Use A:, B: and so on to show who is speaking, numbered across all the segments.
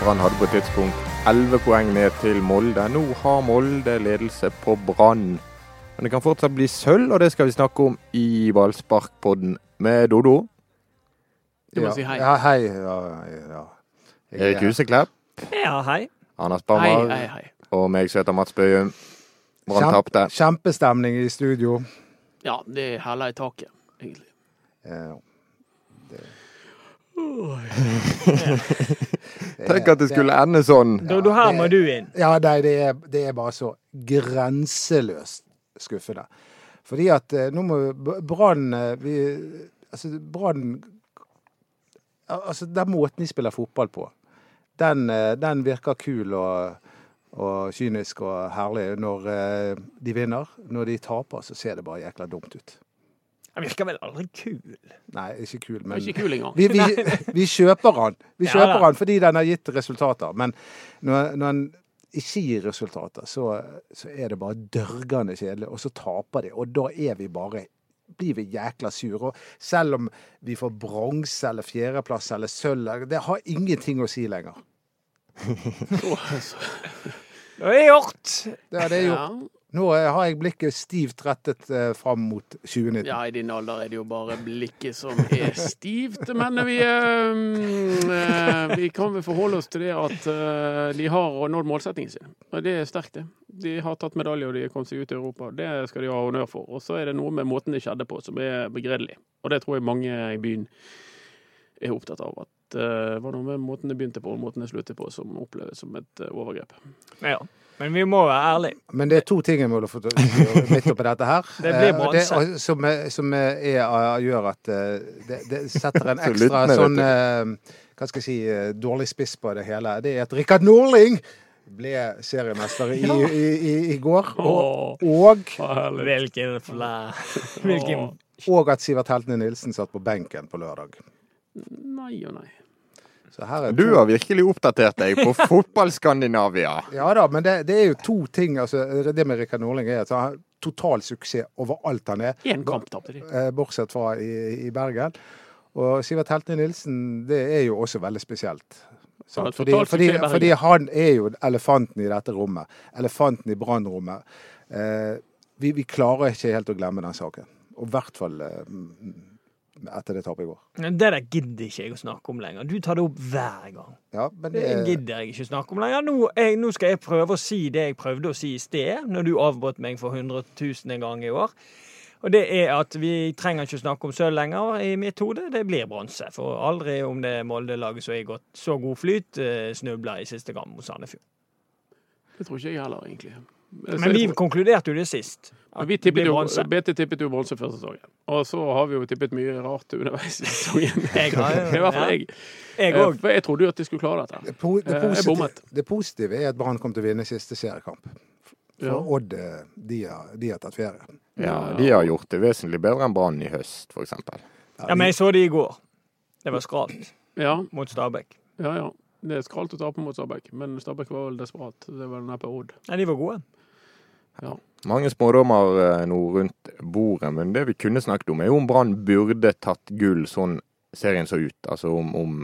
A: Brann hadde på et tidspunkt 11 poeng ned til Molde. Nå har Molde ledelse på Brann. Men det kan fortsatt bli sølv, og det skal vi snakke om i ballsparkpodden med Dodo.
B: Du må si hei.
C: Ja, hei. Ja, ja. Jeg-
A: Erik Huseklepp,
B: Ja, hei.
A: Anders
B: Hei,
A: Bammer
B: hei, hei.
A: og meg som heter Mats Bøyum. Brann
C: Kjempe-
A: tapte.
C: Kjempestemning i studio.
B: Ja, det er hæla i taket, egentlig.
C: Eh,
A: Tenk at det skulle ende sånn.
D: Da, da her må
C: det-
D: du inn.
C: Ja, nei, det er, det er bare så grenseløst skuffende. Fordi at eh, nå må B- Brann eh, vi- Altså, Brann al- Altså, den måten de spiller fotball på, den, eh, den virker kul og, og kynisk og herlig når eh, de vinner. Når de taper, så ser det bare jækla dumt ut.
D: Han virker vel aldri kul.
C: Nei, ikke kul,
B: Det
C: men
B: er ikke kul engang.
C: Vi, vi, vi kjøper han. Vi
D: Ja
C: kjøper
D: da.
C: han fordi den har gitt resultater. Men når, når han ikke gir resultater, så, så er det bare dørgende kjedelig. Og så taper de. Og da er vi bare blir vi jækla sure. Og selv om vi får bronse eller fjerdeplass eller sølv, det har ingenting å si lenger.
D: Det er gjort!
C: Det er det jo.
B: Ja,
C: Nå har jeg blikket stivt rettet eh, fram mot 2019.
B: ja, i din alder er det jo bare blikket som er stivt. Men vi, eh, eh, vi kan vel forholde oss til det at eh, de har nådd målsettingen sin. Og det er sterkt, det. De har tatt medalje, og de har kommet seg ut i Europa. Det skal de ha honnør for. Og så er det noe med måten det skjedde på, som er begredelig. Og det tror jeg mange i byen er opptatt av. At eh, det var noe med måten det begynte på, og måten det sluttet på, som oppleves som et eh, overgrep.
D: Ja. Men vi må være ærlige.
C: Men det er to ting jeg må få gjøre midt oppi dette her.
D: Det blir
C: Eh, og det-
D: bronse.
C: og Som, er- som er, er- gjør at eh, det, det setter en
A: Så
C: ekstra
A: lyttende, vet
C: sånn eh, Hva skal jeg si eh, dårlig spiss på det hele. Det er at Rikard Norling ble seriemester i, i, i, i går. Og, og,
D: Hvilken fla... Hvilken
B: Åh.
C: og at Sivert Heltene Nilsen satt på benken på lørdag.
B: Nei og nei.
C: Så her er
A: Du
C: to-
A: har virkelig oppdatert deg på Fotball-Skandinavia.
C: Ja da, men det, det er jo to ting. Altså, det med Rikard Norling er at han har total suksess overalt han er.
B: Én kamp tapte de.
C: eh, bortsett fra i, i Bergen. Og Sivert Heltne Nilsen, det er jo også veldig spesielt. Sant?
B: Ja, totalt
C: Fordi, fordi,
B: suksess i Bergen.
C: fordi han er jo elefanten i dette rommet. Elefanten i brannrommet. Eh, vi, vi klarer ikke helt å glemme den saken. Og i hvert fall eh, etter det tapet i går.
D: Men Det der gidder ikke jeg å snakke om lenger. Du tar det opp hver gang.
C: Ja, men eh,
D: Det
C: det,
D: gidder jeg ikke å snakke om lenger. Nå, jeg, nå skal jeg prøve å si det jeg prøvde å si i sted, når du avbrøt meg for hundretusende gang i år. Og det er at vi trenger ikke å snakke om sølv lenger i mitt hode. Det blir bronse. For aldri om det Molde-laget som er i godt- så god flyt, eh, snubler i siste kamp mot Sandefjord.
B: Det tror ikke jeg heller, egentlig.
D: Men vi konkluderte jo det sist.
B: Men
D: at
B: vi
D: det
B: tippet
D: blir
B: jo,
D: bronse.
B: BT tippet jo bronse før sesongen. Og så har vi jo tippet mye rart underveis i sesongen.
D: Jeg har jo-
B: I hvert fall jeg.
D: Jeg
B: Eh,
D: òg.
B: For jeg trodde jo at de skulle klare dette.
C: det, po- det,
B: Eh, jeg
C: positive,
B: bommet.
C: det positive er at Brann kom til å vinne siste seriekamp. For
B: Ja.
C: Odd, eh, de har, de har tatt ferie.
A: Ja, De har gjort det vesentlig bedre enn Brann i høst, f.eks.
D: Ja, men jeg så det i går. Det var skralt
B: Ja,
D: mot Stabæk.
B: ja, ja. Det er skralt å tape mot Stabæk, men Stabæk var vel desperat. Det var neppe Odd.
D: Nei, de var gode.
A: Mange smådommer eh, nå rundt bordet, men det vi kunne snakket om, er jo om Brann burde tatt gull sånn serien så ut. Altså om, om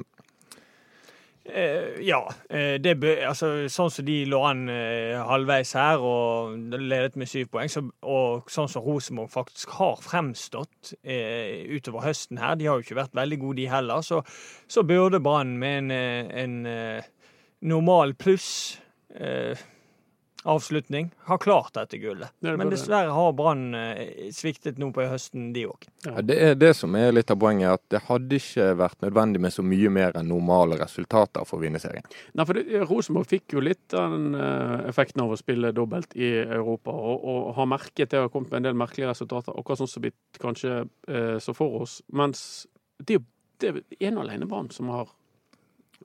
D: Eh, ja. Eh, det bø altså, sånn som de lå an eh, halvveis her og ledet med syv poeng, så, og sånn som Rosenborg faktisk har fremstått eh, utover høsten her, de har jo ikke vært veldig gode de heller, så, så burde Brann med en, eh, en eh, normal pluss eh, avslutning ha klart dette gullet.
B: Ja, det
D: Men
B: burde det.
D: dessverre har Brann eh, sviktet nå på høsten, de òg.
A: Ja, Det er det som er litt av poenget, at det hadde ikke vært nødvendig med så mye mer enn normale resultater for å vinne serien.
B: Nei, for det, Rosenborg fikk jo litt den eh, effekten av å spille dobbelt i Europa, og, og har merket det har kommet med en del merkelige resultater, akkurat sånn som vi kanskje eh, så for oss. Mens det er jo Det er ene og alene Brann som har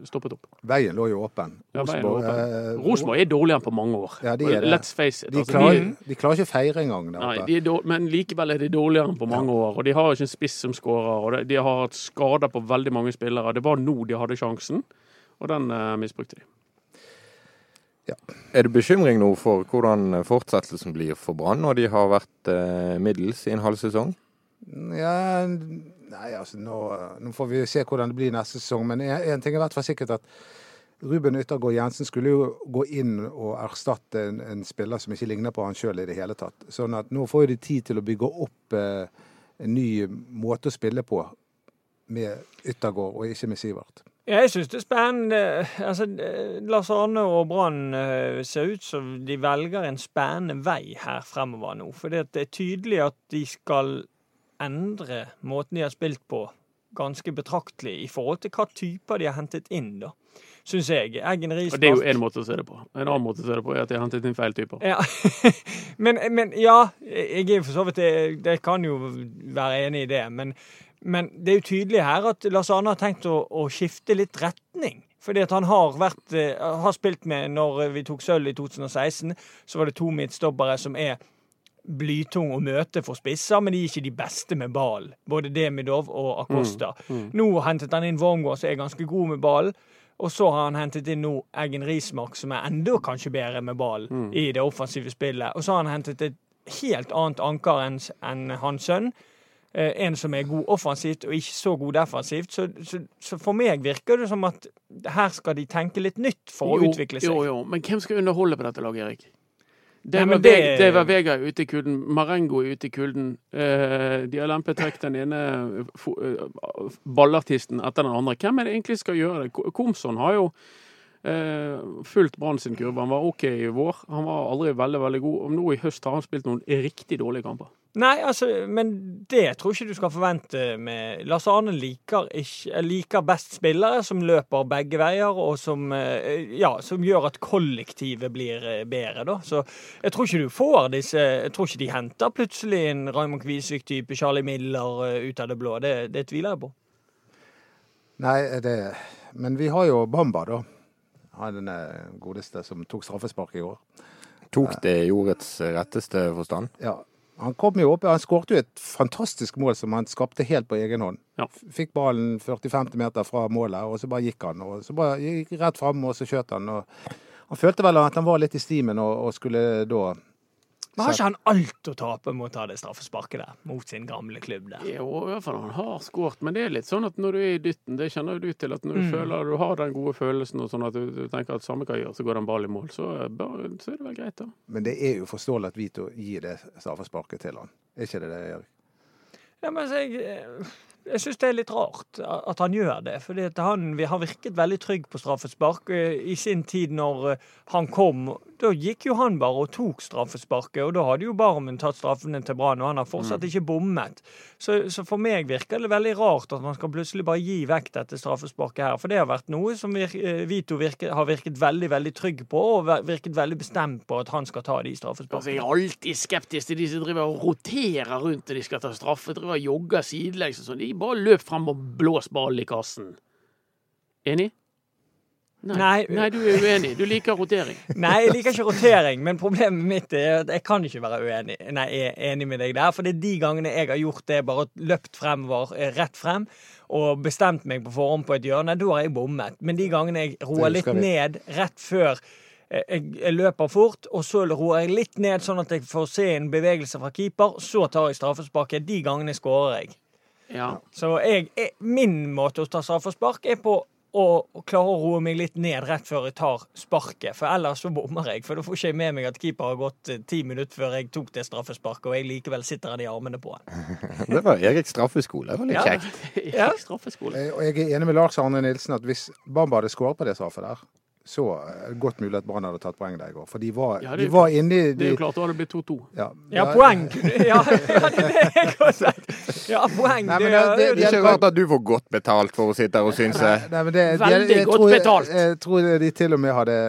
B: stoppet opp.
C: Veien lå jo åpen.
B: Ja, veien
C: Rosenborg,
B: lå
C: eh,
B: Rosenborg er dårligere enn på mange år.
C: Ja, de er det.
B: Let's face it.
C: De
B: Altså,
C: klarer, de klarer ikke å feire engang der
B: Nei,
C: oppe.
B: de er dår- men likevel er de dårligere enn på mange år. Og de har ikke en spiss som skårer. Og de- de har hatt skader på veldig mange spillere. Det var nå de hadde sjansen, og den eh, misbrukte de.
A: Er det bekymring nå for hvordan fortsettelsen blir for Brann, når de har vært eh, middels i en halv sesong?
C: Ja, nei, altså nå, nå får vi se hvordan det blir neste sesong. Men én ting er i hvert fall sikkert at Ruben Yttergård Jensen skulle jo gå inn og erstatte en, en spiller som ikke ligner på han sjøl i det hele tatt. Sånn at nå får jo de tid til å bygge opp eh, en ny måte å spille på med Yttergård og ikke med Sivert.
D: Jeg syns det er spennende. Altså, Lars Arne og Brann eh, ser ut som de velger en spennende vei her fremover nå. For det er tydelig at de skal endre måten de har spilt på, ganske betraktelig i forhold til hva typer de har hentet inn, da. Syns jeg. Eggen Riis
B: Og det er jo én måte å se det på. En annen måte å se det på er at de har hentet inn feil typer.
D: ja. men, men ja, jeg er jo for så vidt det, det kan jo være enig i det. Men, men det er jo tydelig her at Lars Arne har tenkt å, å skifte litt retning. Fordi at han har, vært, eh, har spilt med Når vi tok sølv i 2016, så var det to midtstoppere som er blytung å møte for spisser, men de er ikke de beste med ball. Både Demidov og Acosta.
B: Mm,
D: Nå hentet han inn Wormgård, som er ganske god med ball. Og så har han hentet inn nå Eggen Rismark, som er enda kanskje bedre med ball
B: Mm.
D: i det offensive spillet. Og så har han hentet et helt annet anker enn enn hans sønn. Eh, en som er god offensivt og ikke så god defensivt. Så, så, så for meg virker det som at her skal de tenke litt nytt for å
B: Jo,
D: utvikle seg.
B: Jo, jo, men hvem skal underholde på dette laget, Erik?
D: Nei,
B: Det
D: men
B: var,
D: det-
B: Veg- det var Vega ute i kulden, Marengo er ute i kulden. Eh, de har lempet vekk den ene fo- eh, ballartisten etter den andre. Hvem er det egentlig som skal gjøre det? Ko- Komson har jo eh, fulgt Brann sin kurve. Han var OK i vår. Han var aldri veldig, veldig god. Og nå i høst har han spilt noen riktig dårlige kamper.
D: Nei, altså, men det tror jeg ikke du skal forvente med Lars Arne liker, ikke, eh, liker best spillere som løper begge veier, og som, eh, ja, som gjør at kollektivet blir eh, bedre, da. Så jeg tror ikke du får disse Jeg tror ikke de henter plutselig en Raymond Kvisvik-type Charlie Miller eh, ut av det blå. Det, det tviler jeg på.
C: Nei, det Men vi har jo Bamba, da. Han eh, godeste som tok straffespark i år.
A: Tok det i ordets retteste forstand?
C: Ja, han kom jo opp, han skårte jo et fantastisk mål som han skapte helt på egen hånd.
B: Ja.
C: Fikk ballen 40-50 meter fra målet, og så bare gikk han. Og så bare gikk rett fram, og så skjøt han. Og han følte vel at han var litt i stimen og, og skulle da
D: Men har ikke han alt å tape med å ta det straffesparket der, mot sin gamle klubb der?
B: Jo, i hvert fall han har skåret, men det er litt sånn at når du er i dytten, det kjenner jo du til, at når du
D: Mm.
B: føler du har den gode følelsen og sånn at du, du tenker at samme hva jeg gjør, så går den ballen i mål, så, eh, bare- så er det vel greit, da.
C: Men det er jo forståelig at Vito gir det straffesparket til han. Er ikke det det, Erik?
D: Ja, men altså, jeg, jeg syns det er litt rart at han gjør det. For han vi har virket veldig trygg på straffespark. Eh, I sin tid når eh, han kom, da gikk jo han bare og tok straffesparket. Og da hadde jo Barmen tatt straffene til Brann, og han har fortsatt ikke bommet. Så, så for meg virker det veldig rart at man skal plutselig bare gi vekk dette straffesparket her. For det har vært noe som vir, eh, Vito virke, har virket veldig, veldig trygg på, og ver- virket veldig bestemt på at han skal ta de
B: Altså, jeg
D: straffesparkene.
B: er alltid skeptisk til de som driver og roterer rundt når de skal ta straffe, driver og jogger sidelengs og sånn. De bare løp frem og blås ballen i kassen. Enig?
D: Nei.
B: Nei, du er uenig. Du liker rotering.
D: Nei, jeg liker ikke rotering, men problemet mitt er at jeg kan ikke være uenig Nei, jeg er enig med deg der. For det er de gangene jeg har gjort det, bare løpt fremover, eh, rett frem, og bestemt meg på forhånd på et hjørne, da har jeg bommet. Men de gangene jeg roer
C: Det
D: litt
C: husker vi.
D: ned rett før eh, jeg, jeg løper fort, og så roer jeg litt ned sånn at jeg får se en bevegelse fra keeper, så tar jeg straffesparket. De gangene skårer jeg.
B: Ja.
D: Så jeg, jeg, min måte å ta straffespark er på å klare å roe meg litt ned rett før jeg tar sparket, for ellers så bommer jeg. For da får ikke jeg med meg at keeper har gått eh, ti minutter før jeg tok det straffesparket, og jeg likevel sitter han i armene på han.
A: Det var Eriks straffeskole. Det var litt
D: Ja.
A: kjekt.
B: Straffeskole.
C: Eh, Og jeg er enig med Lars Arne Nilsen at hvis Bamba hadde skåret på det straffet der, så er det godt mulig at Brann hadde tatt poeng der i går. For de var,
B: Ja, det er
C: de
B: jo-
C: var inne i
B: Det er
C: de,
B: jo klart, da hadde det blitt 2-2.
C: ja,
D: Ja, poeng! Ja, ja, det er det jeg har sagt. Ja, poeng.
C: Nei,
D: det,
C: men
D: er-
C: det- det-
A: Det er ikke rart at du får godt betalt for å sitte her og synse.
C: Nei, men det, de-
B: Veldig
C: jeg
B: godt
C: tror-
B: betalt.
C: Jeg, jeg tror de til og med hadde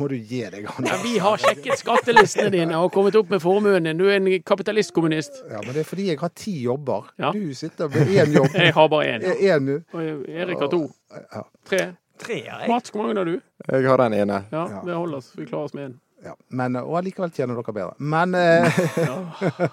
C: Må du gi deg, han?
B: Ja, vi har sjekket skattelistene dine og kommet opp med formuen din. Du er en kapitalistkommunist.
C: Ja, men det er fordi jeg har ti jobber.
B: Ja.
C: Du sitter med én jobb.
B: Jeg har bare én.
C: Én
B: Og Erik har to.
C: ja.
B: Tre.
D: Tre, ja. jeg.
B: Mats, hvor mange har du?
A: Jeg har den ene.
B: Ja, det holder oss. Vi klarer oss med én.
C: Ja, men, og allikevel tjener dere bedre. Men eh,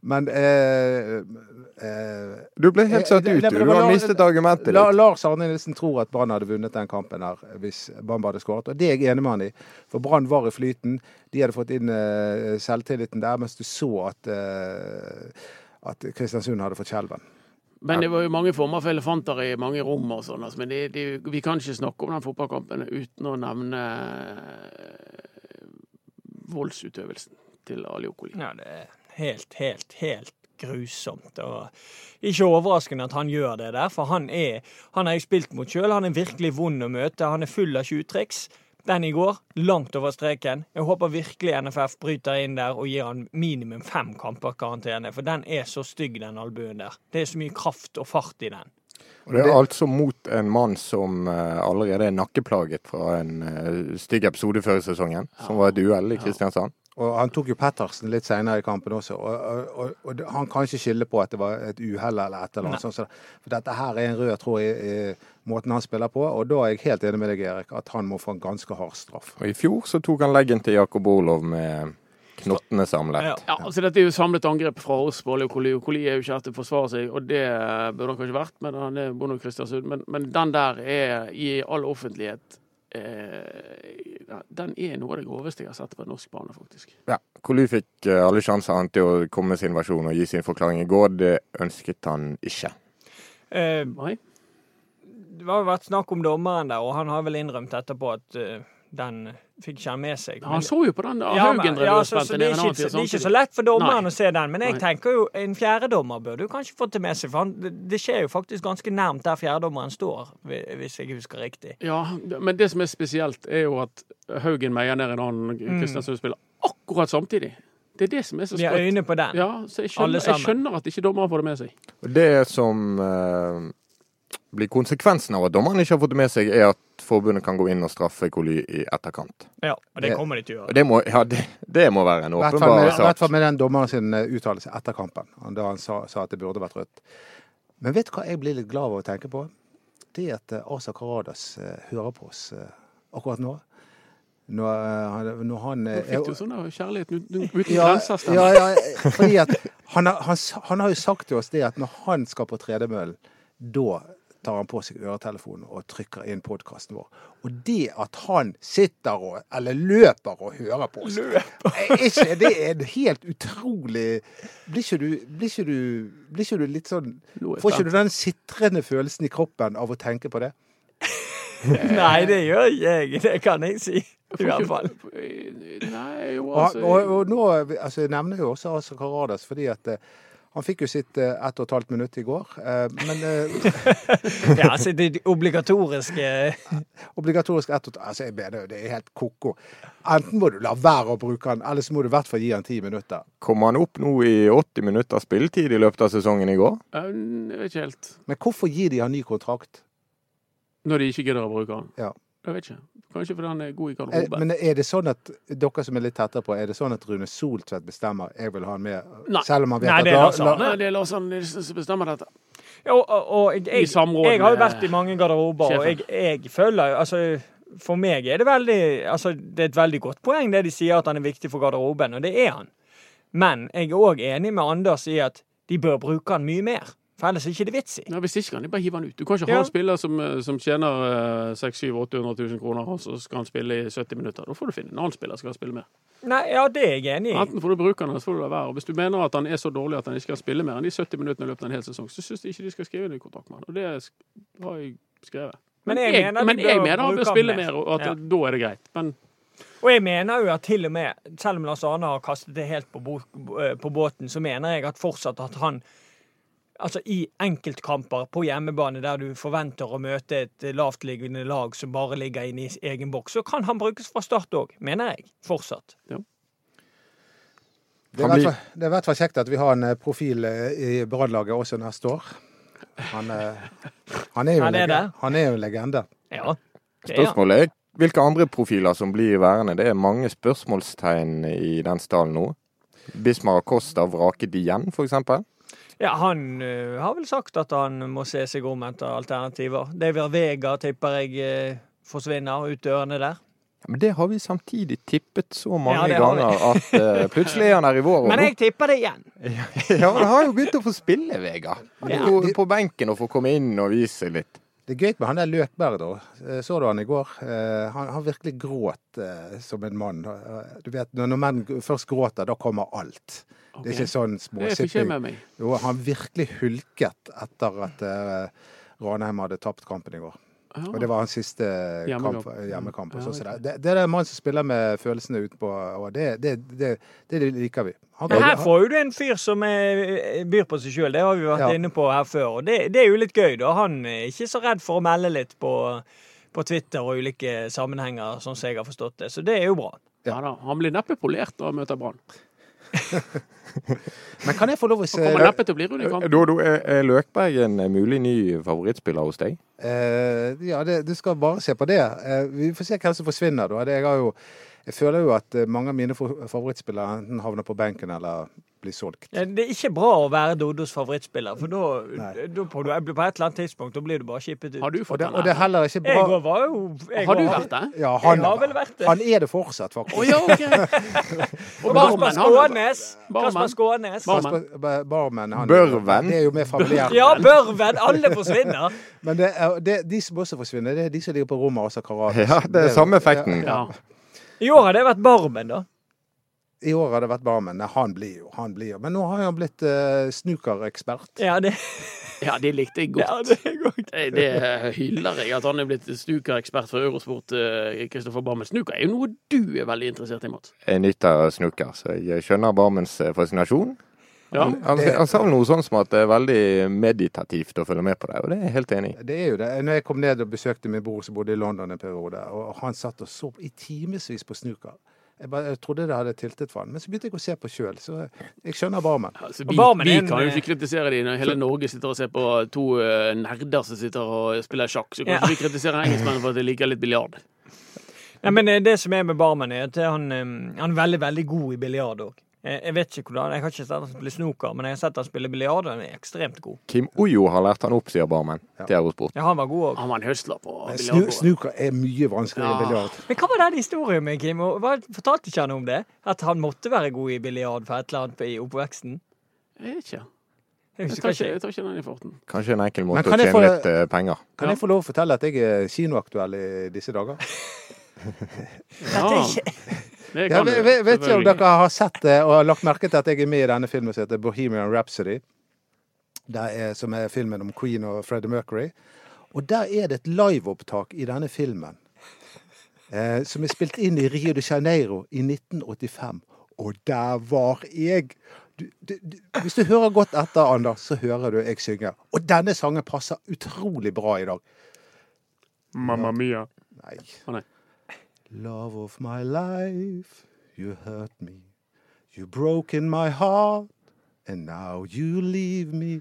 C: Men eh, eh,
A: Du ble helt satt
C: Nei,
A: ut,
C: men
A: du.
C: det
A: Du
C: var
A: har
C: la-
A: mistet argumentet
C: La,
A: ditt.
C: Lars Arne Nilsen tror at Brann hadde vunnet den kampen her hvis Bamba hadde skåret. Og det er jeg enig med han i, for Brann var i flyten. De hadde fått inn eh, selvtilliten der, mens du så at, eh, at Kristiansund hadde fått skjelven.
B: Men det var jo mange former for elefanter i mange rom og sånn. Altså. Men det, det, vi kan ikke snakke om den fotballkampen uten å nevne eh, voldsutøvelsen til Ali Okoli.
D: Ja, det er helt, helt, helt grusomt. Og ikke overraskende at han gjør det der, for han er Han har jeg spilt mot sjøl. Han er virkelig vond å møte. Han er full av tjuvtriks. Den i går, langt over streken. Jeg håper virkelig NFF bryter inn der og gir han minimum fem kamper karantene, for den er så stygg, den albuen der. Det er så mye kraft og fart i den.
A: Og det er altså mot en mann som eh, allerede er nakkeplaget fra en eh, stygg episode før i sesongen, som var et uhell i Kristiansand.
C: Og han tok jo Pettersen litt senere i kampen også, og, og, og, og det- han kan ikke skylde på at det var et uhell eller et eller annet. Sånn, som det. for dette her er en rød tråd i, i måten han spiller på, og da er jeg helt enig med deg, Erik, at han må få en ganske hard straff.
A: Og i fjor så tok han leggen til Jakob Orlov med knottene samlet.
D: Ja.
B: Ja, altså Dette er jo samlet angrep fra oss på Ali Okoli. Okoli er jo ikke her til å forsvare seg, og det eh, burde han kanskje vært, men han er bonde i Kristiansund. Men, men den der er i all offentlighet eh, ja, Den er noe av det groveste jeg har sett på en norsk bane, faktisk.
A: Ja, Kolu fikk eh, alle sjanser han til å komme med sin versjon og gi sin forklaring i går. Det ønsket han ikke.
D: Eh,
B: Nei?
D: det har jo vært snakk om dommeren der, og han har vel innrømt etterpå at eh, den fikk ikke han med seg.
B: Han
D: Men-
B: så jo på den
D: Ja, men-
B: Haugen drev
D: ja,
B: og
D: så, så
B: spilte
D: det, er
B: ned en
D: ikke,
B: annen
D: det
B: fyr
D: er ikke så
B: samtidig.
D: lett for dommeren
B: Nei.
D: å se den, men jeg
B: Nei.
D: tenker jo en fjerdedommer bør du kanskje fått det med seg, for han, det- det skjer jo faktisk ganske nærmt der fjerdedommeren står, hvi- hvis jeg husker riktig.
B: Ja, men det som er spesielt, er jo at Haugen meier ned en annen Kristiansund-spiller akkurat samtidig. Det er det som er så
D: Mm. Vi har
B: sprøtt.
D: øyne på den.
B: Ja, så jeg skjønner,
D: Alle
B: jeg
D: sammen.
B: skjønner at ikke dommeren får det med seg.
A: Og Det som eh, blir konsekvensen av at dommeren ikke har fått det med seg, er at forbundet kan gå inn og straffe Kolu i etterkant.
D: Ja, og det kommer de til å
A: Og
D: gjøre.
A: det må, ja, det, det må være en
C: I hvert fall
A: åpenbar
C: med- i
A: sak.
C: hvert fall med den dommeren sin eh, uttalelse etter kampen, han- da han sa, sa at det burde vært rødt. Men vet du hva jeg blir litt glad av å tenke på? Det at eh, Asa Karadas eh, hører på oss eh, akkurat nå. Når, eh, han- når han eh,
B: Nå fikk du
C: er-
B: sånn der kjærlighet uten uten
C: ja,
B: grenser. Stemmer.
C: ja, ja, fordi at han, har- han, s- han har jo sagt til oss det at når han skal på tredemøllen, da tar han på seg øretelefonen og trykker inn podkasten vår. Og det at han sitter og eller løper og hører på oss, er ikke det er en helt utrolig Blir ikke du, blir ikke du, blir ikke du litt sånn
B: Nå er jeg
C: Får ikke
B: spent.
C: du den sitrende følelsen i kroppen av å tenke på det?
D: Nei, det gjør ikke jeg, det kan jeg si. I hvert fall.
B: Nei, jo,
C: Og,
B: altså
C: og, og nå, altså Jeg nevner jo også Asa Karadas, fordi at eh, han fikk jo sitt eh, ett og et halvt minutt i går. eh, Men eh,
D: Ja, altså det obligatoriske
C: obligatorisk ett og et altså, jeg mener, jo, Det er helt ko-ko. Enten må du la være å bruke den, eller så må du i hvert fall gi den ti minutter.
A: Kom han opp nå i 80 minutter spilletid i løpet av sesongen i går?
B: eh, Jeg vet ikke helt.
C: Men hvorfor gir de han ny kontrakt?
B: Når de ikke gidder å bruke den.
C: Ja.
B: Jeg vet ikke. Kanskje fordi han er god i
C: Er,
B: garderoben.
C: men er det sånn at dere som er litt tettere på, er det sånn at Rune Soltvedt bestemmer jeg vil ha han med,
B: Nei.
C: selv om han vet
D: Nei,
C: at
D: det er
C: la-
D: Lars Arne.
C: la-
B: Nei, det er Lars Arne Nilsen som bestemmer dette.
D: Ja, Og, og, og jeg,
B: I
D: jeg,
B: samråd
D: jeg har jo
B: med
D: vært i mange garderober, og jeg,
B: sjefen.
D: jeg føler jo altså, For meg er det veldig altså, Det er et veldig godt poeng, det de sier at han er viktig for garderoben, og det er han. Men jeg er òg enig med Anders i at de bør bruke han mye mer. For ellers er det ikke det vits i.
B: Nei, Hvis ikke kan de bare hive han ut. Du kan ikke
D: Ja.
B: ha en spiller som, eh, som tjener eh, 600 000-800 000 kroner, og så skal han spille i 70 minutter. Da får du finne en annen spiller som kan spille mer.
D: Nei, ja, det er jeg enig i.
B: Enten får du bruke han, eller så får du la være. Og Hvis du mener at han er så dårlig at han ikke kan spille mer enn de 70 minuttene i løpet av en hel sesong, så syns jeg ikke de skal skrive en ny kontrakt med han. Og det sk- har jeg skrevet.
D: Men jeg mener de
B: men
D: bør
B: jeg mener han
D: bruke
B: bør
D: han
B: spille
D: mer.
B: mer, og at
D: Ja.
B: da er det greit. Men
D: Og jeg mener jo at til og med, selv eh, om Lars Arne har kastet det helt på, bo, på båten, så mener jeg at fortsatt at han altså i enkeltkamper på hjemmebane der du forventer å møte et lavtliggende lag som bare ligger inne i egen boks, så kan han brukes fra start òg, mener jeg. Fortsatt.
C: Det er
A: Han
C: i
A: blir-
C: hvert fall- det er i hvert fall kjekt at vi har en eh, profil eh, i Brann-laget også neste år. Han, eh, han, er jo en
D: Han er
C: lege-
D: det.
C: han er jo en legende.
D: Ja. Det er han.
A: Spørsmålet er hvilke andre profiler som blir værende. Det er mange spørsmålstegn i den stallen nå. Bismar Acosta vraket igjen, for eksempel.
D: Ja, han ø, har vel sagt at han må se seg om etter alternativer. David Vega tipper jeg ø, forsvinner ut dørene der.
A: Men det har vi samtidig tippet så
D: Ja,
A: mange
D: det har vi.
A: ganger at eh, plutselig er han her i vår. og
D: Men jeg tipper det igjen.
A: nå- Ja, men han har jo begynt å få spille, Vega. Han
D: Ja.
A: er jo på benken og får komme inn og vise litt.
C: Det er gøy med han der Løkberg, da. Eh, Så du han i går? Eh, Han, han virkelig gråt eh, som en mann. Eh, Du vet, når, når menn g- først gråter, da kommer alt. Det er ikke sånn
B: Det fikk jeg
C: småsitting.
B: med meg.
C: Jo, han virkelig hulket etter at eh, Ranheim hadde tapt kampen i går.
B: Ja.
C: Og det var hans siste
B: Hjemmekamp.
C: hjemmekamp. Kamp, hjemmekamp og
B: Ja,
C: sånn som
B: riktig.
C: det, det, det er en mann som spiller med følelsene utenpå, og det, det, det, det liker vi. Han
D: Men
C: kan-
D: her får jo du en fyr som ø, byr på seg sjøl, det har vi vært
C: Ja.
D: inne på her før. Og det, det er jo litt gøy, da. Han er ikke så redd for å melde litt på, på Twitter og ulike sammenhenger, sånn som jeg har forstått det. Så det er jo bra.
B: Ja da, Han blir neppe polert når han møter Brann.
C: Men kan jeg få lov å
B: Han
C: se
B: kommer neppe til å bli rundt i kamp.
A: Eh, Dodo, er er Løkberg en eh, mulig ny favorittspiller hos deg?
C: Eh, ja, det, du skal bare se på det. Eh, vi får se hvem som forsvinner, da. Det, jeg, har jo, jeg føler jo at eh, mange av mine for- favorittspillere enten havner på benken eller blir solgt.
D: Ja, Det er ikke bra å være Dodos favorittspiller, for da,
C: Nei.
D: da på, på et eller annet tidspunkt da blir du bare skippet ut.
B: Har du
C: Og
B: fått
C: det,
B: den?
C: og det
B: her?
C: er heller ikke
D: Jeg
C: bra
D: òg var jo jeg
B: Har
D: òg
B: du
D: var-
B: vært det?
C: ja,
D: Jeg har vel vært det.
C: han er det fortsatt, faktisk.
B: Å ja, OK. Og
D: Kasper
B: Barmen, han er-
D: Skånes.
B: Barmen.
D: Kasper Skånes.
B: Barmen.
C: Kasper- Ba- Barmen. Han,
A: Børven.
C: Det er jo mer familiært.
D: Ja, Børven. Alle forsvinner.
C: Men det er, det, de som også forsvinner, det er de som ligger på rommet og også karat.
A: Ja, det er samme effekten.
B: Ja.
D: I år har det vært Barmen, da.
C: I år har det vært Barmen. Nei, han blir jo. Han blir jo. Men nå har han blitt eh, snukerekspert.
D: Ja, det,
B: ja, det likte jeg
D: ja,
B: godt.
D: det er godt.
B: Eh, Det hyller jeg, at han er blitt snookerekspert for Eurosport. eh, Kristoffer Barmen. Snooker er jo noe du er veldig interessert i, Mats.
A: Jeg nyter snooker, så jeg skjønner Barmens eh, fascinasjon.
B: Ja.
A: Han, han sa vel noe sånn som at det er veldig meditativt å følge med på det, og det er jeg helt enig i.
C: Det er jo det. Når jeg kom ned og besøkte min bror som bodde i London en periode, og han satt og så i timevis på snooker. Jeg, bare, jeg trodde det hadde tiltet for han, men så begynte jeg å se på sjøl, så jeg skjønner barmen.
B: Altså,
D: Og
B: vi,
D: Barmen
B: vi
D: er en-
B: kan jo ikke kritisere de når hele Norge sitter og ser på to eh, nerder som sitter og spiller sjakk. Så kan
D: Ja.
B: ikke vi kritisere engelskmennene for at de liker litt biljard.
D: Ja, men eh, det som er med Barmen, er at han, eh, han er veldig, veldig god i biljard òg. Eh, Jeg vet ikke hvordan, jeg har ikke sett han spille snooker, men jeg har sett han spille biljard, og han er ekstremt god.
A: Kim Ojo har lært han opp, sier Barmen.
C: Ja.
A: Det er jo sport.
D: Ja, han var god òg.
B: Han var en høsler på
C: Snu,
B: biljardbordet.
C: snooker er mye vanskeligere enn biljard.
D: Men hva var den historien med Kim? Og hva- Fortalte ikke han om det? At han måtte være god i biljard for et eller annet i oppveksten?
B: Jeg vet ikke. Jeg tar
D: Jeg husker
B: ikke,
D: ikke.
B: jeg tar ikke den i farten.
A: Kanskje en enkel
C: Men
A: måte å
C: kan jeg
A: tjene
C: få-
A: litt eh, penger.
C: Kan jeg få lov å fortelle at jeg er kinoaktuell i disse dager?
B: Ja, det
C: Jeg
B: kan du.
C: vet, vet, vet ikke om
B: selvfølgelig.
C: dere har sett det og har lagt merke til at jeg er med i denne filmen som heter Bohemian Rhapsody, der er, som er filmen om Queen og Freddie Mercury. Og der er det et liveopptak i denne filmen eh, som er spilt inn i Rio de Janeiro i 1985. Og der var jeg! Du, du, du, hvis du hører godt etter, Anders, så hører du jeg synger. Og denne sangen passer utrolig bra i dag.
B: Mamma mia.
C: Nei.
B: Å, nei.
C: Love of my life, you hurt me. You broke in my heart, and now you leave me.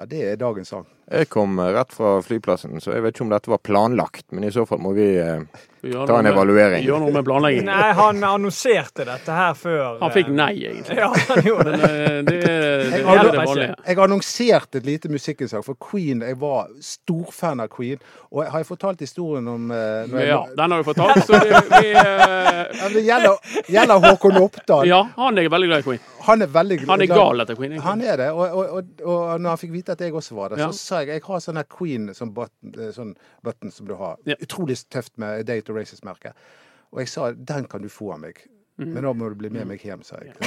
C: Ja, det er dagens sang.
A: Jeg kom eh, rett fra flyplassen, så jeg vet ikke om dette var planlagt, men i så fall må vi eh,
B: Vi gjør
A: Ta en
B: noe med-
A: evaluering.
B: vi Gjør noe med planleggingen.
D: Nei, han annonserte dette her før. eh,
B: Han fikk nei, egentlig.
D: Ja, han gjorde det.
B: Men eh, det, det, det er
C: har-
B: det vanlige.
C: Jeg annonserte et lite musikkinnslag for Queen. Jeg var storfan av Queen. Og har jeg fortalt historien om eh, når jeg-
B: Ja, den har vi fått tak så det, vi, eh,
C: Ja, men Det gjelder, gjelder Håkon Oppdal.
B: Ja, han er veldig glad i Queen.
C: Han er veldig glad.
B: Han er gal etter Queen.
C: Han
B: egentlig.
C: er det. Og, og, og, og når han fikk vite at jeg også var der,
B: Ja.
C: så sa jeg jeg har sånn her Queen som button, eh, sånn button som du har.
B: Ja.
C: Utrolig tøft med Day to Races-merket. Og jeg sa den kan du få av meg. Men da må du bli med meg hjem, sa jeg. Ja.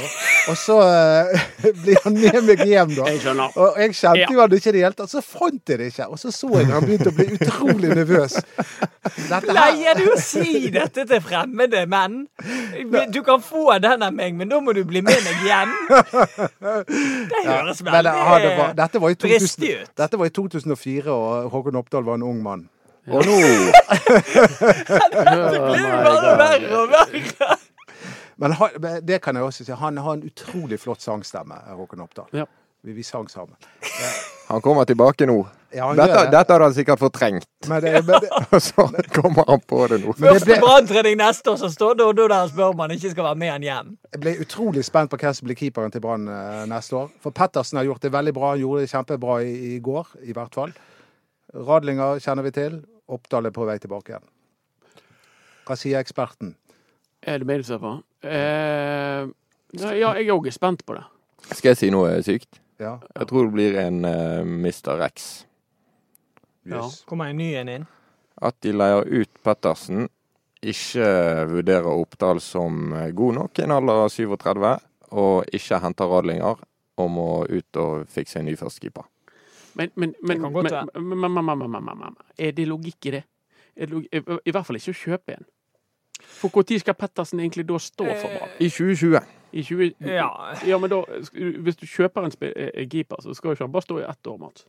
C: Og så eh, blir han med meg hjem, da.
B: Jeg skjønner.
C: Og jeg kjente jo han ikke i det hele tatt. Så fant jeg det ikke. Og så så jeg han begynte å bli utrolig nervøs. Dette her
D: Pleier du å si dette til fremmede menn? Du kan få den av meg, men da må du bli med meg hjem. Det høres
C: men eh, det, ja, det var,
D: veldig
C: dette, var i 2000,
D: Dristig ut.
C: dette var i 2004, og Håkon Oppdal var en ung mann.
A: Og nå
D: Det blir jo bare verre og verre.
C: Men han, men det kan jeg også si. Han har en utrolig flott sangstemme, Håkon Oppdal.
B: Ja.
C: Vi, vi sang sammen.
A: Han kommer tilbake nå.
C: Ja, han
A: Dette,
C: gjør det.
A: dette hadde han sikkert fortrengt.
C: Men det, men det,
A: Og så kommer han på det nå.
C: Men det
D: Første
C: ble-
D: branntrening neste år, så står det og da der spør man ikke skal være med han hjem.
C: Jeg ble utrolig spent på hvem som blir keeperen til Brann eh, neste år. For Pettersen har gjort det veldig bra. Han gjorde det kjempebra i, i går, i hvert fall. Radlinger kjenner vi til. Oppdal er på vei tilbake igjen. Hva sier eksperten?
B: Er det meg du ser på? Eh, nei, ja, jeg òg er spent på det.
A: Skal jeg si noe sykt?
C: Ja.
A: Jeg tror det blir en eh, Mr. X.
B: Ja.
C: Yes.
D: Kommer en ny en inn?
A: At de leier ut Pettersen, ikke vurderer Oppdal som god nok i en alder av 37, og ikke henter Radlinger, og må ut og fikse en ny førstekeeper.
B: Men, men, men,
D: kan
B: men,
D: godt
B: men, men, men, men, men, men, men er det logikk i det? Er det log- I i hvert fall ikke å kjøpe en. For når skal Pettersen egentlig da stå for Brann?
A: I 2020.
B: I 20...
D: Eh, Ja.
B: Ja, men da, sk- hvis du kjøper en spe- eh, keeper, så skal jo ikke han bare stå i ett år, Mats.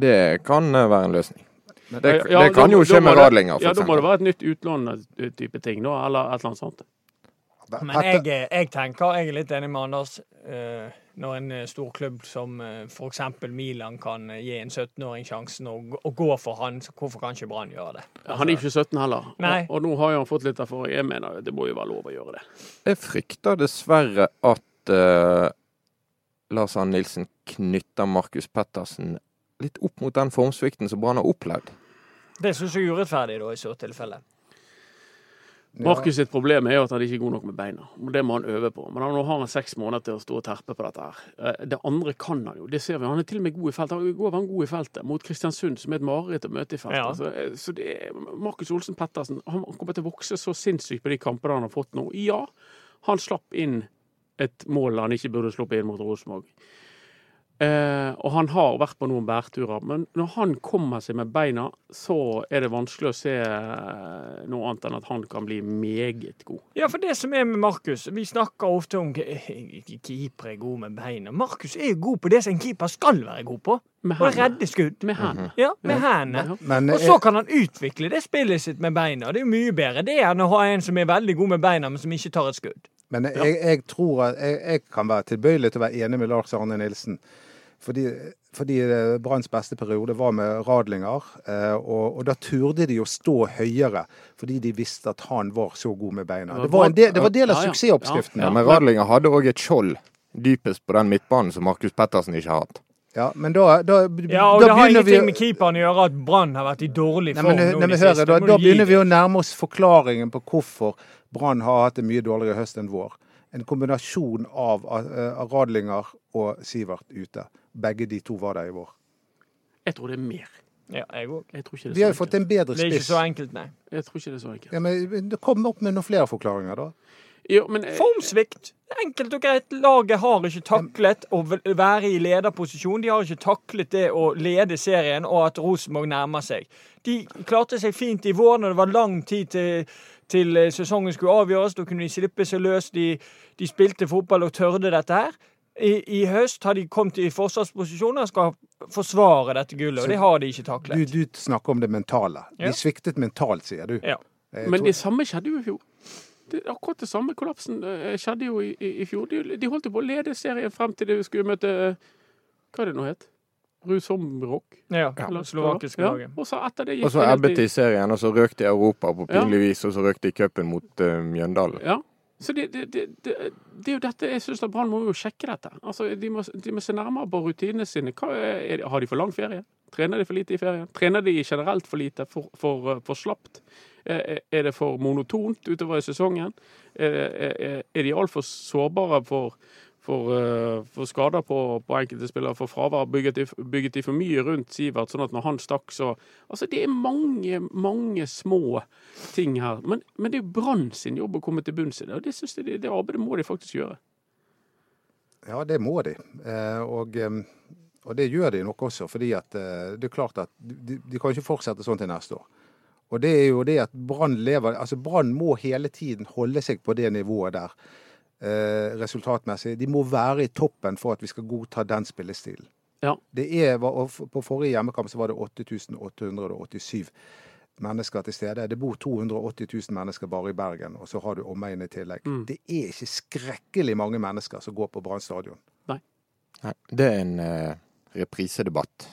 A: Det kan eh, være en løsning. Det,
B: Ja,
A: det kan
B: da-
A: jo
B: da
A: skje
B: må
A: med
B: det-
A: Radlinger, for
B: Ja, da må det
A: eksempel.
B: være et nytt utlån-type ting, da, eller et eller annet sånt.
D: Men jeg,
C: Petter,
D: er- jeg tenker, jeg er litt enig med Anders. eh, Når en eh, stor klubb som eh, for eksempel Milan kan eh, gi en 17-åring sjansen å gå- å gå for han, så hvorfor kan ikke Brann gjøre det?
B: Han er ikke 17 heller,
D: altså- Nei.
B: og, og nå har jo han fått litt erfaring. Jeg mener det må jo være lov å gjøre det.
A: Jeg frykter dessverre at eh, Lars Arne Nilsen knytter Markus Pettersen litt opp mot den formsvikten som Brann har opplevd.
D: Det syns jeg er urettferdig, da, i så tilfelle.
B: Markus sitt problem er jo at han ikke er god nok med beina. og Det må han øve på. Men han, nå har han seks måneder til å stå og terpe på dette her. Eh, Det andre kan han jo. Det ser vi. Han er til og med god i feltet. Han- I går var han god i feltet mot Kristiansund, som er et mareritt å møte i feltet.
D: Ja.
B: Så, eh, så det er Markus Olsen Pettersen han kommer til å vokse så sinnssykt på de kampene han har fått nå. Ja, han slapp inn et mål han ikke burde sluppet inn mot Rosenborg. Eh, og han har vært på noen bærturer, men når han kommer seg med beina, så er det vanskelig å se eh, noe annet enn at han kan bli meget god.
D: Ja, for det som er med Markus Vi snakker ofte om keepere er gode med beina. Markus er jo god på det som en keeper skal være god på.
B: Med
D: Å
B: hendene.
D: redde skudd.
B: Med hendene.
D: Ja, med hendene.
C: men,
D: Og
C: eh,
D: så kan han utvikle det spillet sitt med beina. Det er jo mye bedre det enn å ha en som er veldig god med beina, men som ikke tar et skudd.
C: Men jeg, jeg tror at jeg, jeg kan være tilbøyelig til å være enig med Lars Arne Nilsen. Fordi, fordi eh, Branns beste periode var med Radlinger, eh, og, og da turde de å stå høyere. Fordi de visste at han var så god med beina. Det var en del, det var en del av
B: Ja, ja.
C: suksessoppskriften.
B: Ja,
A: Men Radlinger hadde òg et skjold dypest på den midtbanen som Markus Pettersen ikke har hatt.
C: Ja, men da, da,
D: Ja, og
C: da
D: det har
C: begynner vi
D: ingenting med keeperen å gjøre at Brann har vært i dårlig
C: Nei,
D: form
C: men,
D: nå
C: nei,
D: i
C: men
D: det
C: hør,
D: siste.
C: da,
D: Må
C: da
D: du gi
C: begynner vi
D: det.
C: å nærme oss forklaringen på hvorfor Brann har hatt det mye dårligere høst enn vår. En kombinasjon av, eh, av Radlinger og Sivert ute. Begge de to var der i vår.
B: Jeg tror det er mer.
D: Ja, jeg òg.
B: Jeg tror ikke det
C: Vi har
B: er
C: jo
B: så
C: fått
B: enkelt.
C: en bedre
D: sånn Det er ikke
C: spiss.
D: så enkelt, nei.
B: Jeg tror ikke det er så enkelt.
C: Ja, men det Kom opp med noen flere forklaringer, da.
B: Jo, men, eh,
D: Formsvikt. Enkelt og greit. Laget har ikke taklet å vel- være i lederposisjon. De har ikke taklet det å lede serien og at Rosenborg nærmer seg. De klarte seg fint i vår når det var lang tid til, til eh, sesongen skulle avgjøres. Da kunne de slippe seg løs. De, de spilte fotball og tørde dette her. I, I høst har de kommet i forsvarsposisjoner og skal forsvare dette gullet, og det har de ikke
C: Du,
D: taklet.
C: du snakker om det mentale.
D: Ja.
C: De sviktet mentalt, sier du.
D: Ja.
C: Jeg
B: men
C: tror-
B: det samme skjedde jo i fjor. Det, akkurat det samme kollapsen eh, skjedde jo i, i, i fjor. De, de holdt jo på å lede serien frem til de skulle møte eh, Hva er det nå het? Rusomrock?
D: Ja,
B: Eller-
D: slovakiske
B: Ja,
D: laget.
B: Og så etter det gikk
A: Og så
B: det helt
A: ebbet
B: i-
A: de i serien, og så røk de i Europa på
B: Ja.
A: pinlig vis, og så røk de i cupen mot eh, Mjøndalen.
B: Ja. Så det, det, det, det, det er jo dette jeg syns Brann må jo sjekke dette. Altså, de, må, de må se nærmere på rutinene sine. Hva er, er, det- har de for lang ferie? Trener de for lite i ferien? Trener de generelt for lite? For, for, for slapt? Eh, Er det eh, for monotont utover i sesongen? Eh, Er, er de altfor sårbare for, for, eh, for skader på, på enkelte spillere, for fravær. Bygget de, bygget de for mye rundt Sivert, sånn at når han stakk, så Altså, det er mange, mange små ting her. Men, men det er jo Brann sin jobb å komme til bunns i det, og det, synes jeg, det, det arbeidet må de faktisk gjøre.
C: Ja, det må de. Eh, Og, eh, og det gjør de nok også, fordi at eh, det er klart at de, de kan ikke fortsette sånn til neste år. Og det er jo det at Brann lever Altså, Brann må hele tiden holde seg på det nivået der eh, resultatmessig. De må være i toppen for at vi skal godta den spillestilen.
B: Ja.
C: Det er, var- og f- på forrige hjemmekamp så var det 8887 mennesker til stede. Det bor 280 000 mennesker bare i Bergen, og så har du omegn i tillegg.
B: Mm.
C: Det er ikke skrekkelig mange mennesker som går på Brann stadion.
A: Nei, det er en eh, reprisedebatt.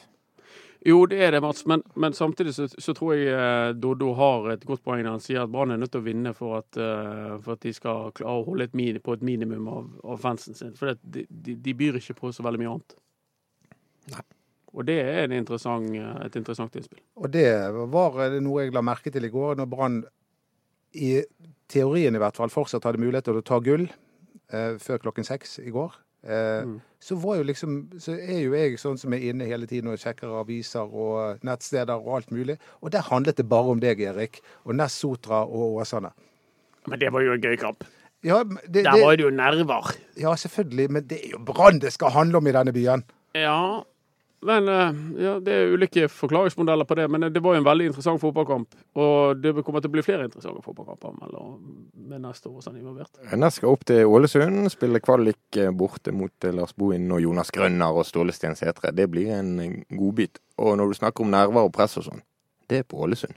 B: Jo, det er det, Mats, men, men samtidig så, så tror jeg eh, Doddo har et godt poeng når han sier at Brann er nødt til å vinne for at, eh, for at de skal klare å holde et mini, på et minimum av, av fansen sin. For det, de- de, de byr ikke på så veldig mye annet.
A: Nei.
B: Og det er en interessant, eh, et interessant innspill.
C: Og det var eh, noe jeg la merke til i går, når Brann i teorien i hvert fall fortsatt hadde mulighet til å ta gull eh, før klokken seks i går. Eh,
B: Mm.
C: Så var jo liksom Så er jo jeg sånn som er inne hele tiden og sjekker aviser og nettsteder og alt mulig. Og der handlet det bare om deg, Erik, og Ness Sotra og Åsane.
B: Men det var jo en gøy kamp.
C: Ja, men det,
B: Der var
C: det,
B: det jo nerver.
C: ja, selvfølgelig, men det er jo Brann det skal handle om i denne byen.
B: Ja, men eh, ja, det er ulike forklaringsmodeller på det. Men eh, det var jo en veldig interessant fotballkamp. Og det kommer til å bli flere interessante fotballkamper mellom- med neste år sånn involvert.
A: Rennes skal opp til Ålesund, spille kvalik eh, borte mot eh, Lars Bohin og Jonas Grønner og Ståle Stensætre. Det blir en eh, godbit. Og når du snakker om nerver og press og sånn, det er på Ålesund.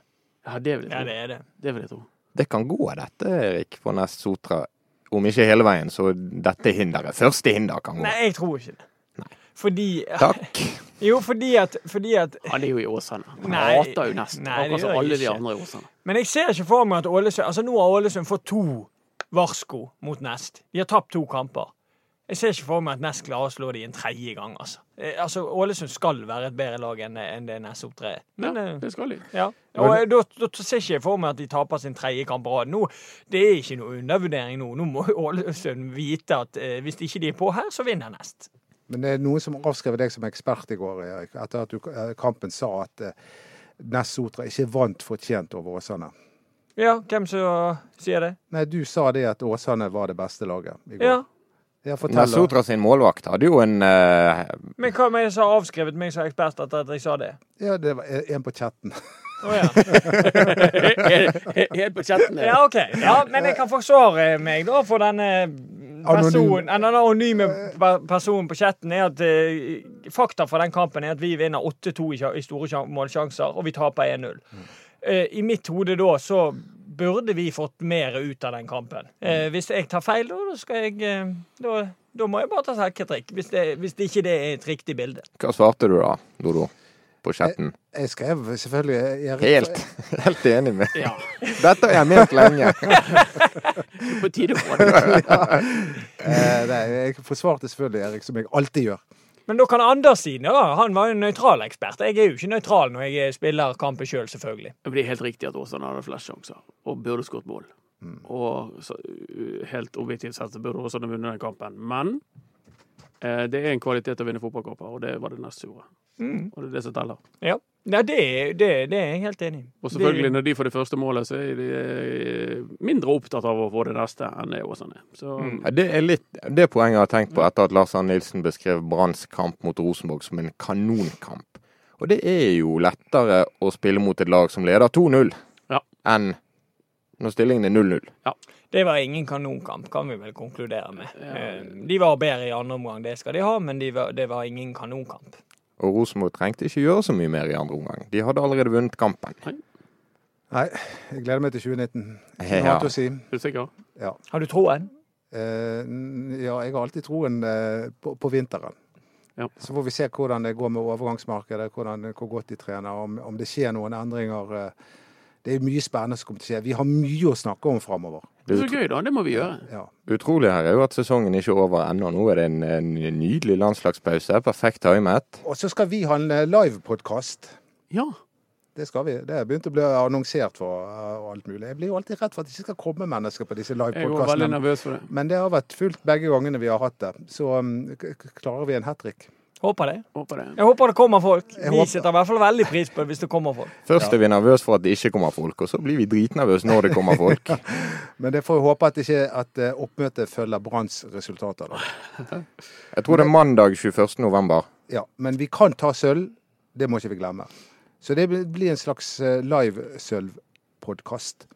B: Ja, det vil jeg
D: Ja,
B: tro.
D: det er det.
B: Det vil jeg tro.
A: Det kan gå av dette, Erik, for Nest Sotra. Om ikke hele veien, så dette hinderet. Første hinder kan gå.
D: Nei, jeg tror ikke det. Fordi
A: Takk.
D: Jo, fordi at, fordi at
B: Han er jo i Åsane. Han
D: Nei,
B: hater jo nesten.
D: nei, det
B: Akkurat som
D: gjør jeg
B: alle de
D: ikke.
B: andre i Åsane.
D: Men jeg ser ikke for meg at Ålesund Altså, nå har Ålesund fått to varsko mot Nest. De har tapt to kamper. Jeg ser ikke for meg at Nest klarer å slå dem en tredje gang, altså. Eh, Altså, Ålesund skal være et bedre lag enn enn det Nest opptrer. Men
B: Ja,
D: eh,
B: det skal de.
D: ja. Og eh, da, da ser ikke jeg for meg at de taper sin tredje kamp på rad. Nå, Det er ikke noe undervurdering nå. Nå må Ålesund vite at eh, hvis ikke de er på her, så vinner Nest.
C: Men det er noen som avskrev deg som ekspert i går, Erik, etter at du, eh, kampen sa at eh, Ness Sotra ikke vant fortjent over Åsane.
D: Ja, hvem som sier det?
C: Nei, du sa det at Åsane var det beste laget i går.
D: Ja.
C: Ja, fortell
A: Nest
C: da.
A: Sotra sin målvakt hadde jo en eh,
D: Men hva med jeg som har avskrevet meg som ekspert etter at jeg sa det?
C: Ja, det var eh, en på chatten.
D: Å ja.
B: Helt på chatten. er det.
D: Ja, OK. Ja, men jeg kan forsvare meg da for denne personen. Den anonyme pe- personen på chatten er at eh, fakta fra den kampen er at vi vinner 8-2 i sja- i store sjan- målsjanser, og vi taper 1-0. Eh, I mitt hode da så burde vi fått mer ut av den kampen. Eh, hvis jeg tar feil, da, da skal jeg eh, da, da må jeg bare ta sekketrikk. Hvis, det, hvis det ikke det er et riktig bilde.
A: Hva svarte du da, Dodo? På chatten?
C: Jeg skrev selvfølgelig eh, Erik,
A: Helt. Helt enig med.
B: Ja.
A: Dette har jeg ment lenge.
B: På tide å få det.
C: Eh, nei, jeg forsvarte selvfølgelig Erik, som jeg alltid gjør.
D: Men da kan Anders si ja, han var jo en nøytral ekspert. Jeg er jo ikke nøytral når jeg eh, spiller kampen sjøl, selv, selvfølgelig.
B: Men Det er helt riktig at Åsane hadde flest sjanser, og burde skåret mål.
D: Mm.
B: Og så, uh, helt objektivt sett så burde Åsane vunnet den kampen. Men eh, det er en kvalitet å vinne fotballkamper, og det var det neste ordet.
D: Mm.
B: Og det er det som teller.
D: Ja, Nei, det, er- det, det er jeg helt enig i.
B: Og selvfølgelig,
D: Det,
B: når de får det første målet, så er de eh, mindre opptatt av å få det neste enn det Åsane er. Så
A: Ja, Det er litt det poenget jeg har tenkt på etter at Lars Arne Nilsen beskrev Branns kamp mot Rosenborg som en kanonkamp. Og det er jo lettere å spille mot et lag som leder 2-0,
B: Ja.
A: enn når stillingen er 0-0.
D: det var ingen kanonkamp, kan vi vel konkludere med. Eh, De var bedre i andre omgang, det skal de ha, men de var, det var ingen kanonkamp.
A: Og Rosenborg trengte ikke gjøre så mye mer i andre omgang. De hadde allerede vunnet kampen.
C: Nei, jeg gleder meg til 2019. Ikke noe
A: Ja.
C: annet å si.
B: er du sikker?
C: Ja.
D: Har du troen?
C: Eh, n- ja, jeg har alltid troen eh, på, på vinteren.
B: Ja.
C: Så får vi se hvordan det går med overgangsmarkedet, hvordan, eh, hvor godt de trener, om, om det skjer noen endringer. eh. Det er mye spennende som kommer til å skje. Vi har mye å snakke om framover.
A: Det
B: Det er så gøy, da. Det må vi gjøre.
C: Ja.
A: utrolige her er jo at sesongen ikke er over ennå. Nå er det en, en nydelig landslagspause. Perfekt timet.
C: Og så skal vi ha en eh, livepodkast
B: Ja.
C: Det skal vi. Det er begynt å bli annonsert for eh, og alt mulig. Jeg blir jo alltid redd for at det ikke skal komme mennesker på disse
B: Jeg er jo veldig
C: livepodkastene.
B: nervøs for det.
C: Men det har vært fullt begge gangene vi har hatt det. Så um, k- k- klarer vi en hat trick.
D: Håper det.
B: Håper det.
D: Jeg håper det kommer folk. Vi
C: håper-
D: setter i hvert fall veldig pris på det hvis det kommer folk.
A: Først er vi nervøse for at det ikke kommer folk, og så blir vi dritnervøse når det kommer folk.
C: Men det får vi håpe at, ikke, at eh, oppmøtet følger Branns resultater, da.
A: Jeg tror det er mandag 21. november.
C: Ja, men vi kan ta sølv. Det må ikke vi glemme. Så det blir- blir en slags eh, live-sølv-podkast.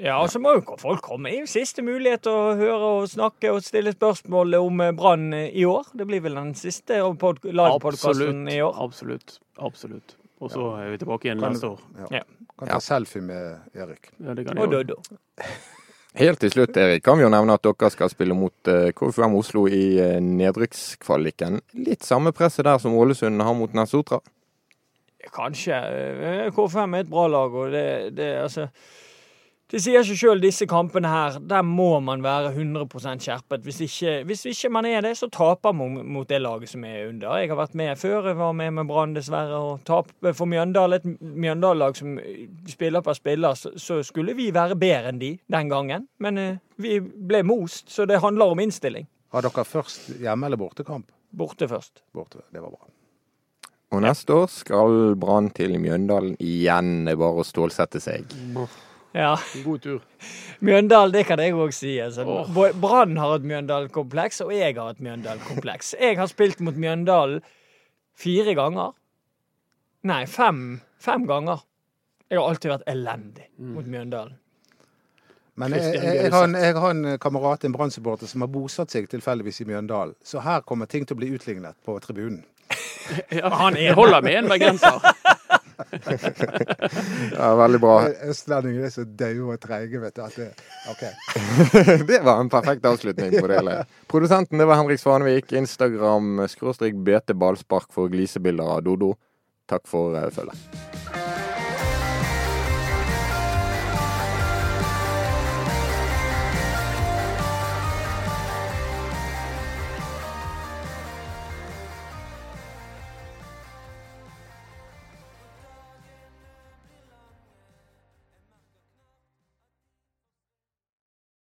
D: Ja, og så må jo folk komme. Det er jo siste mulighet til å høre og snakke og stille spørsmål om eh, Brann eh, i år. Det blir vel den siste pod- livepodkasten
B: Absolutt.
D: i år.
B: Absolutt. Absolutt. Og så er vi tilbake igjen
C: Kan-
B: neste år.
C: Kan
A: Ja.
C: ta selfie med Erik.
B: Ja, det kan
D: Og
B: jeg jo.
D: Doddo.
A: Helt til slutt, Erik, kan vi jo nevne at dere skal spille mot eh, KFUM Oslo i eh, nedrykkskvaliken. Litt samme presset der som Ålesund har mot Nesotra.
D: Kanskje. Eh, K5 er et bra lag, og det, det altså Det sier seg sjøl, disse kampene her. Der må man være 100 skjerpet. Hvis ikke, hvis ikke man er det, så taper man mot det laget som er under. Jeg har vært med før. Jeg var med med Brann, dessverre. Og tape for Mjøndalen, et Mjøndalen-lag som spiller per spiller, så, så skulle vi være bedre enn de den gangen. Men eh, vi ble most, så det handler om innstilling.
C: Har dere først hjemme- eller bortekamp?
D: Borte først.
C: Borte. Det var bra.
A: Og neste år skal Brann til Mjøndalen igjen. Det er bare å stålsette seg.
D: Ja.
B: God tur.
D: Mjøndalen, det kan jeg òg si. Altså.
B: Åh.
D: Bo- Brann har et Mjøndalen-kompleks, og jeg har et Mjøndalen-kompleks. Jeg har spilt mot Mjøndalen fire ganger. Nei, fem, fem ganger. Jeg har alltid vært elendig mot Mjøndalen.
C: Men jeg,
B: Christian
C: jeg, jeg, har en,
B: Bjørseth.
C: jeg har en kamerat, en Brann-supporter, som har bosatt seg tilfeldigvis i Mjøndalen. Så her kommer ting til å bli utlignet på tribunen.
B: Ja, det holder med en bergenser.
A: Ja, veldig bra.
C: Østlendinger er så daue og treige, vet du. At det, ok.
A: Det var en perfekt avslutning på det hele. Produsenten det var Henrik Svanevik. Instagram skråstrek BT ballspark for glisebilder av Dodo. Takk for eh, følget.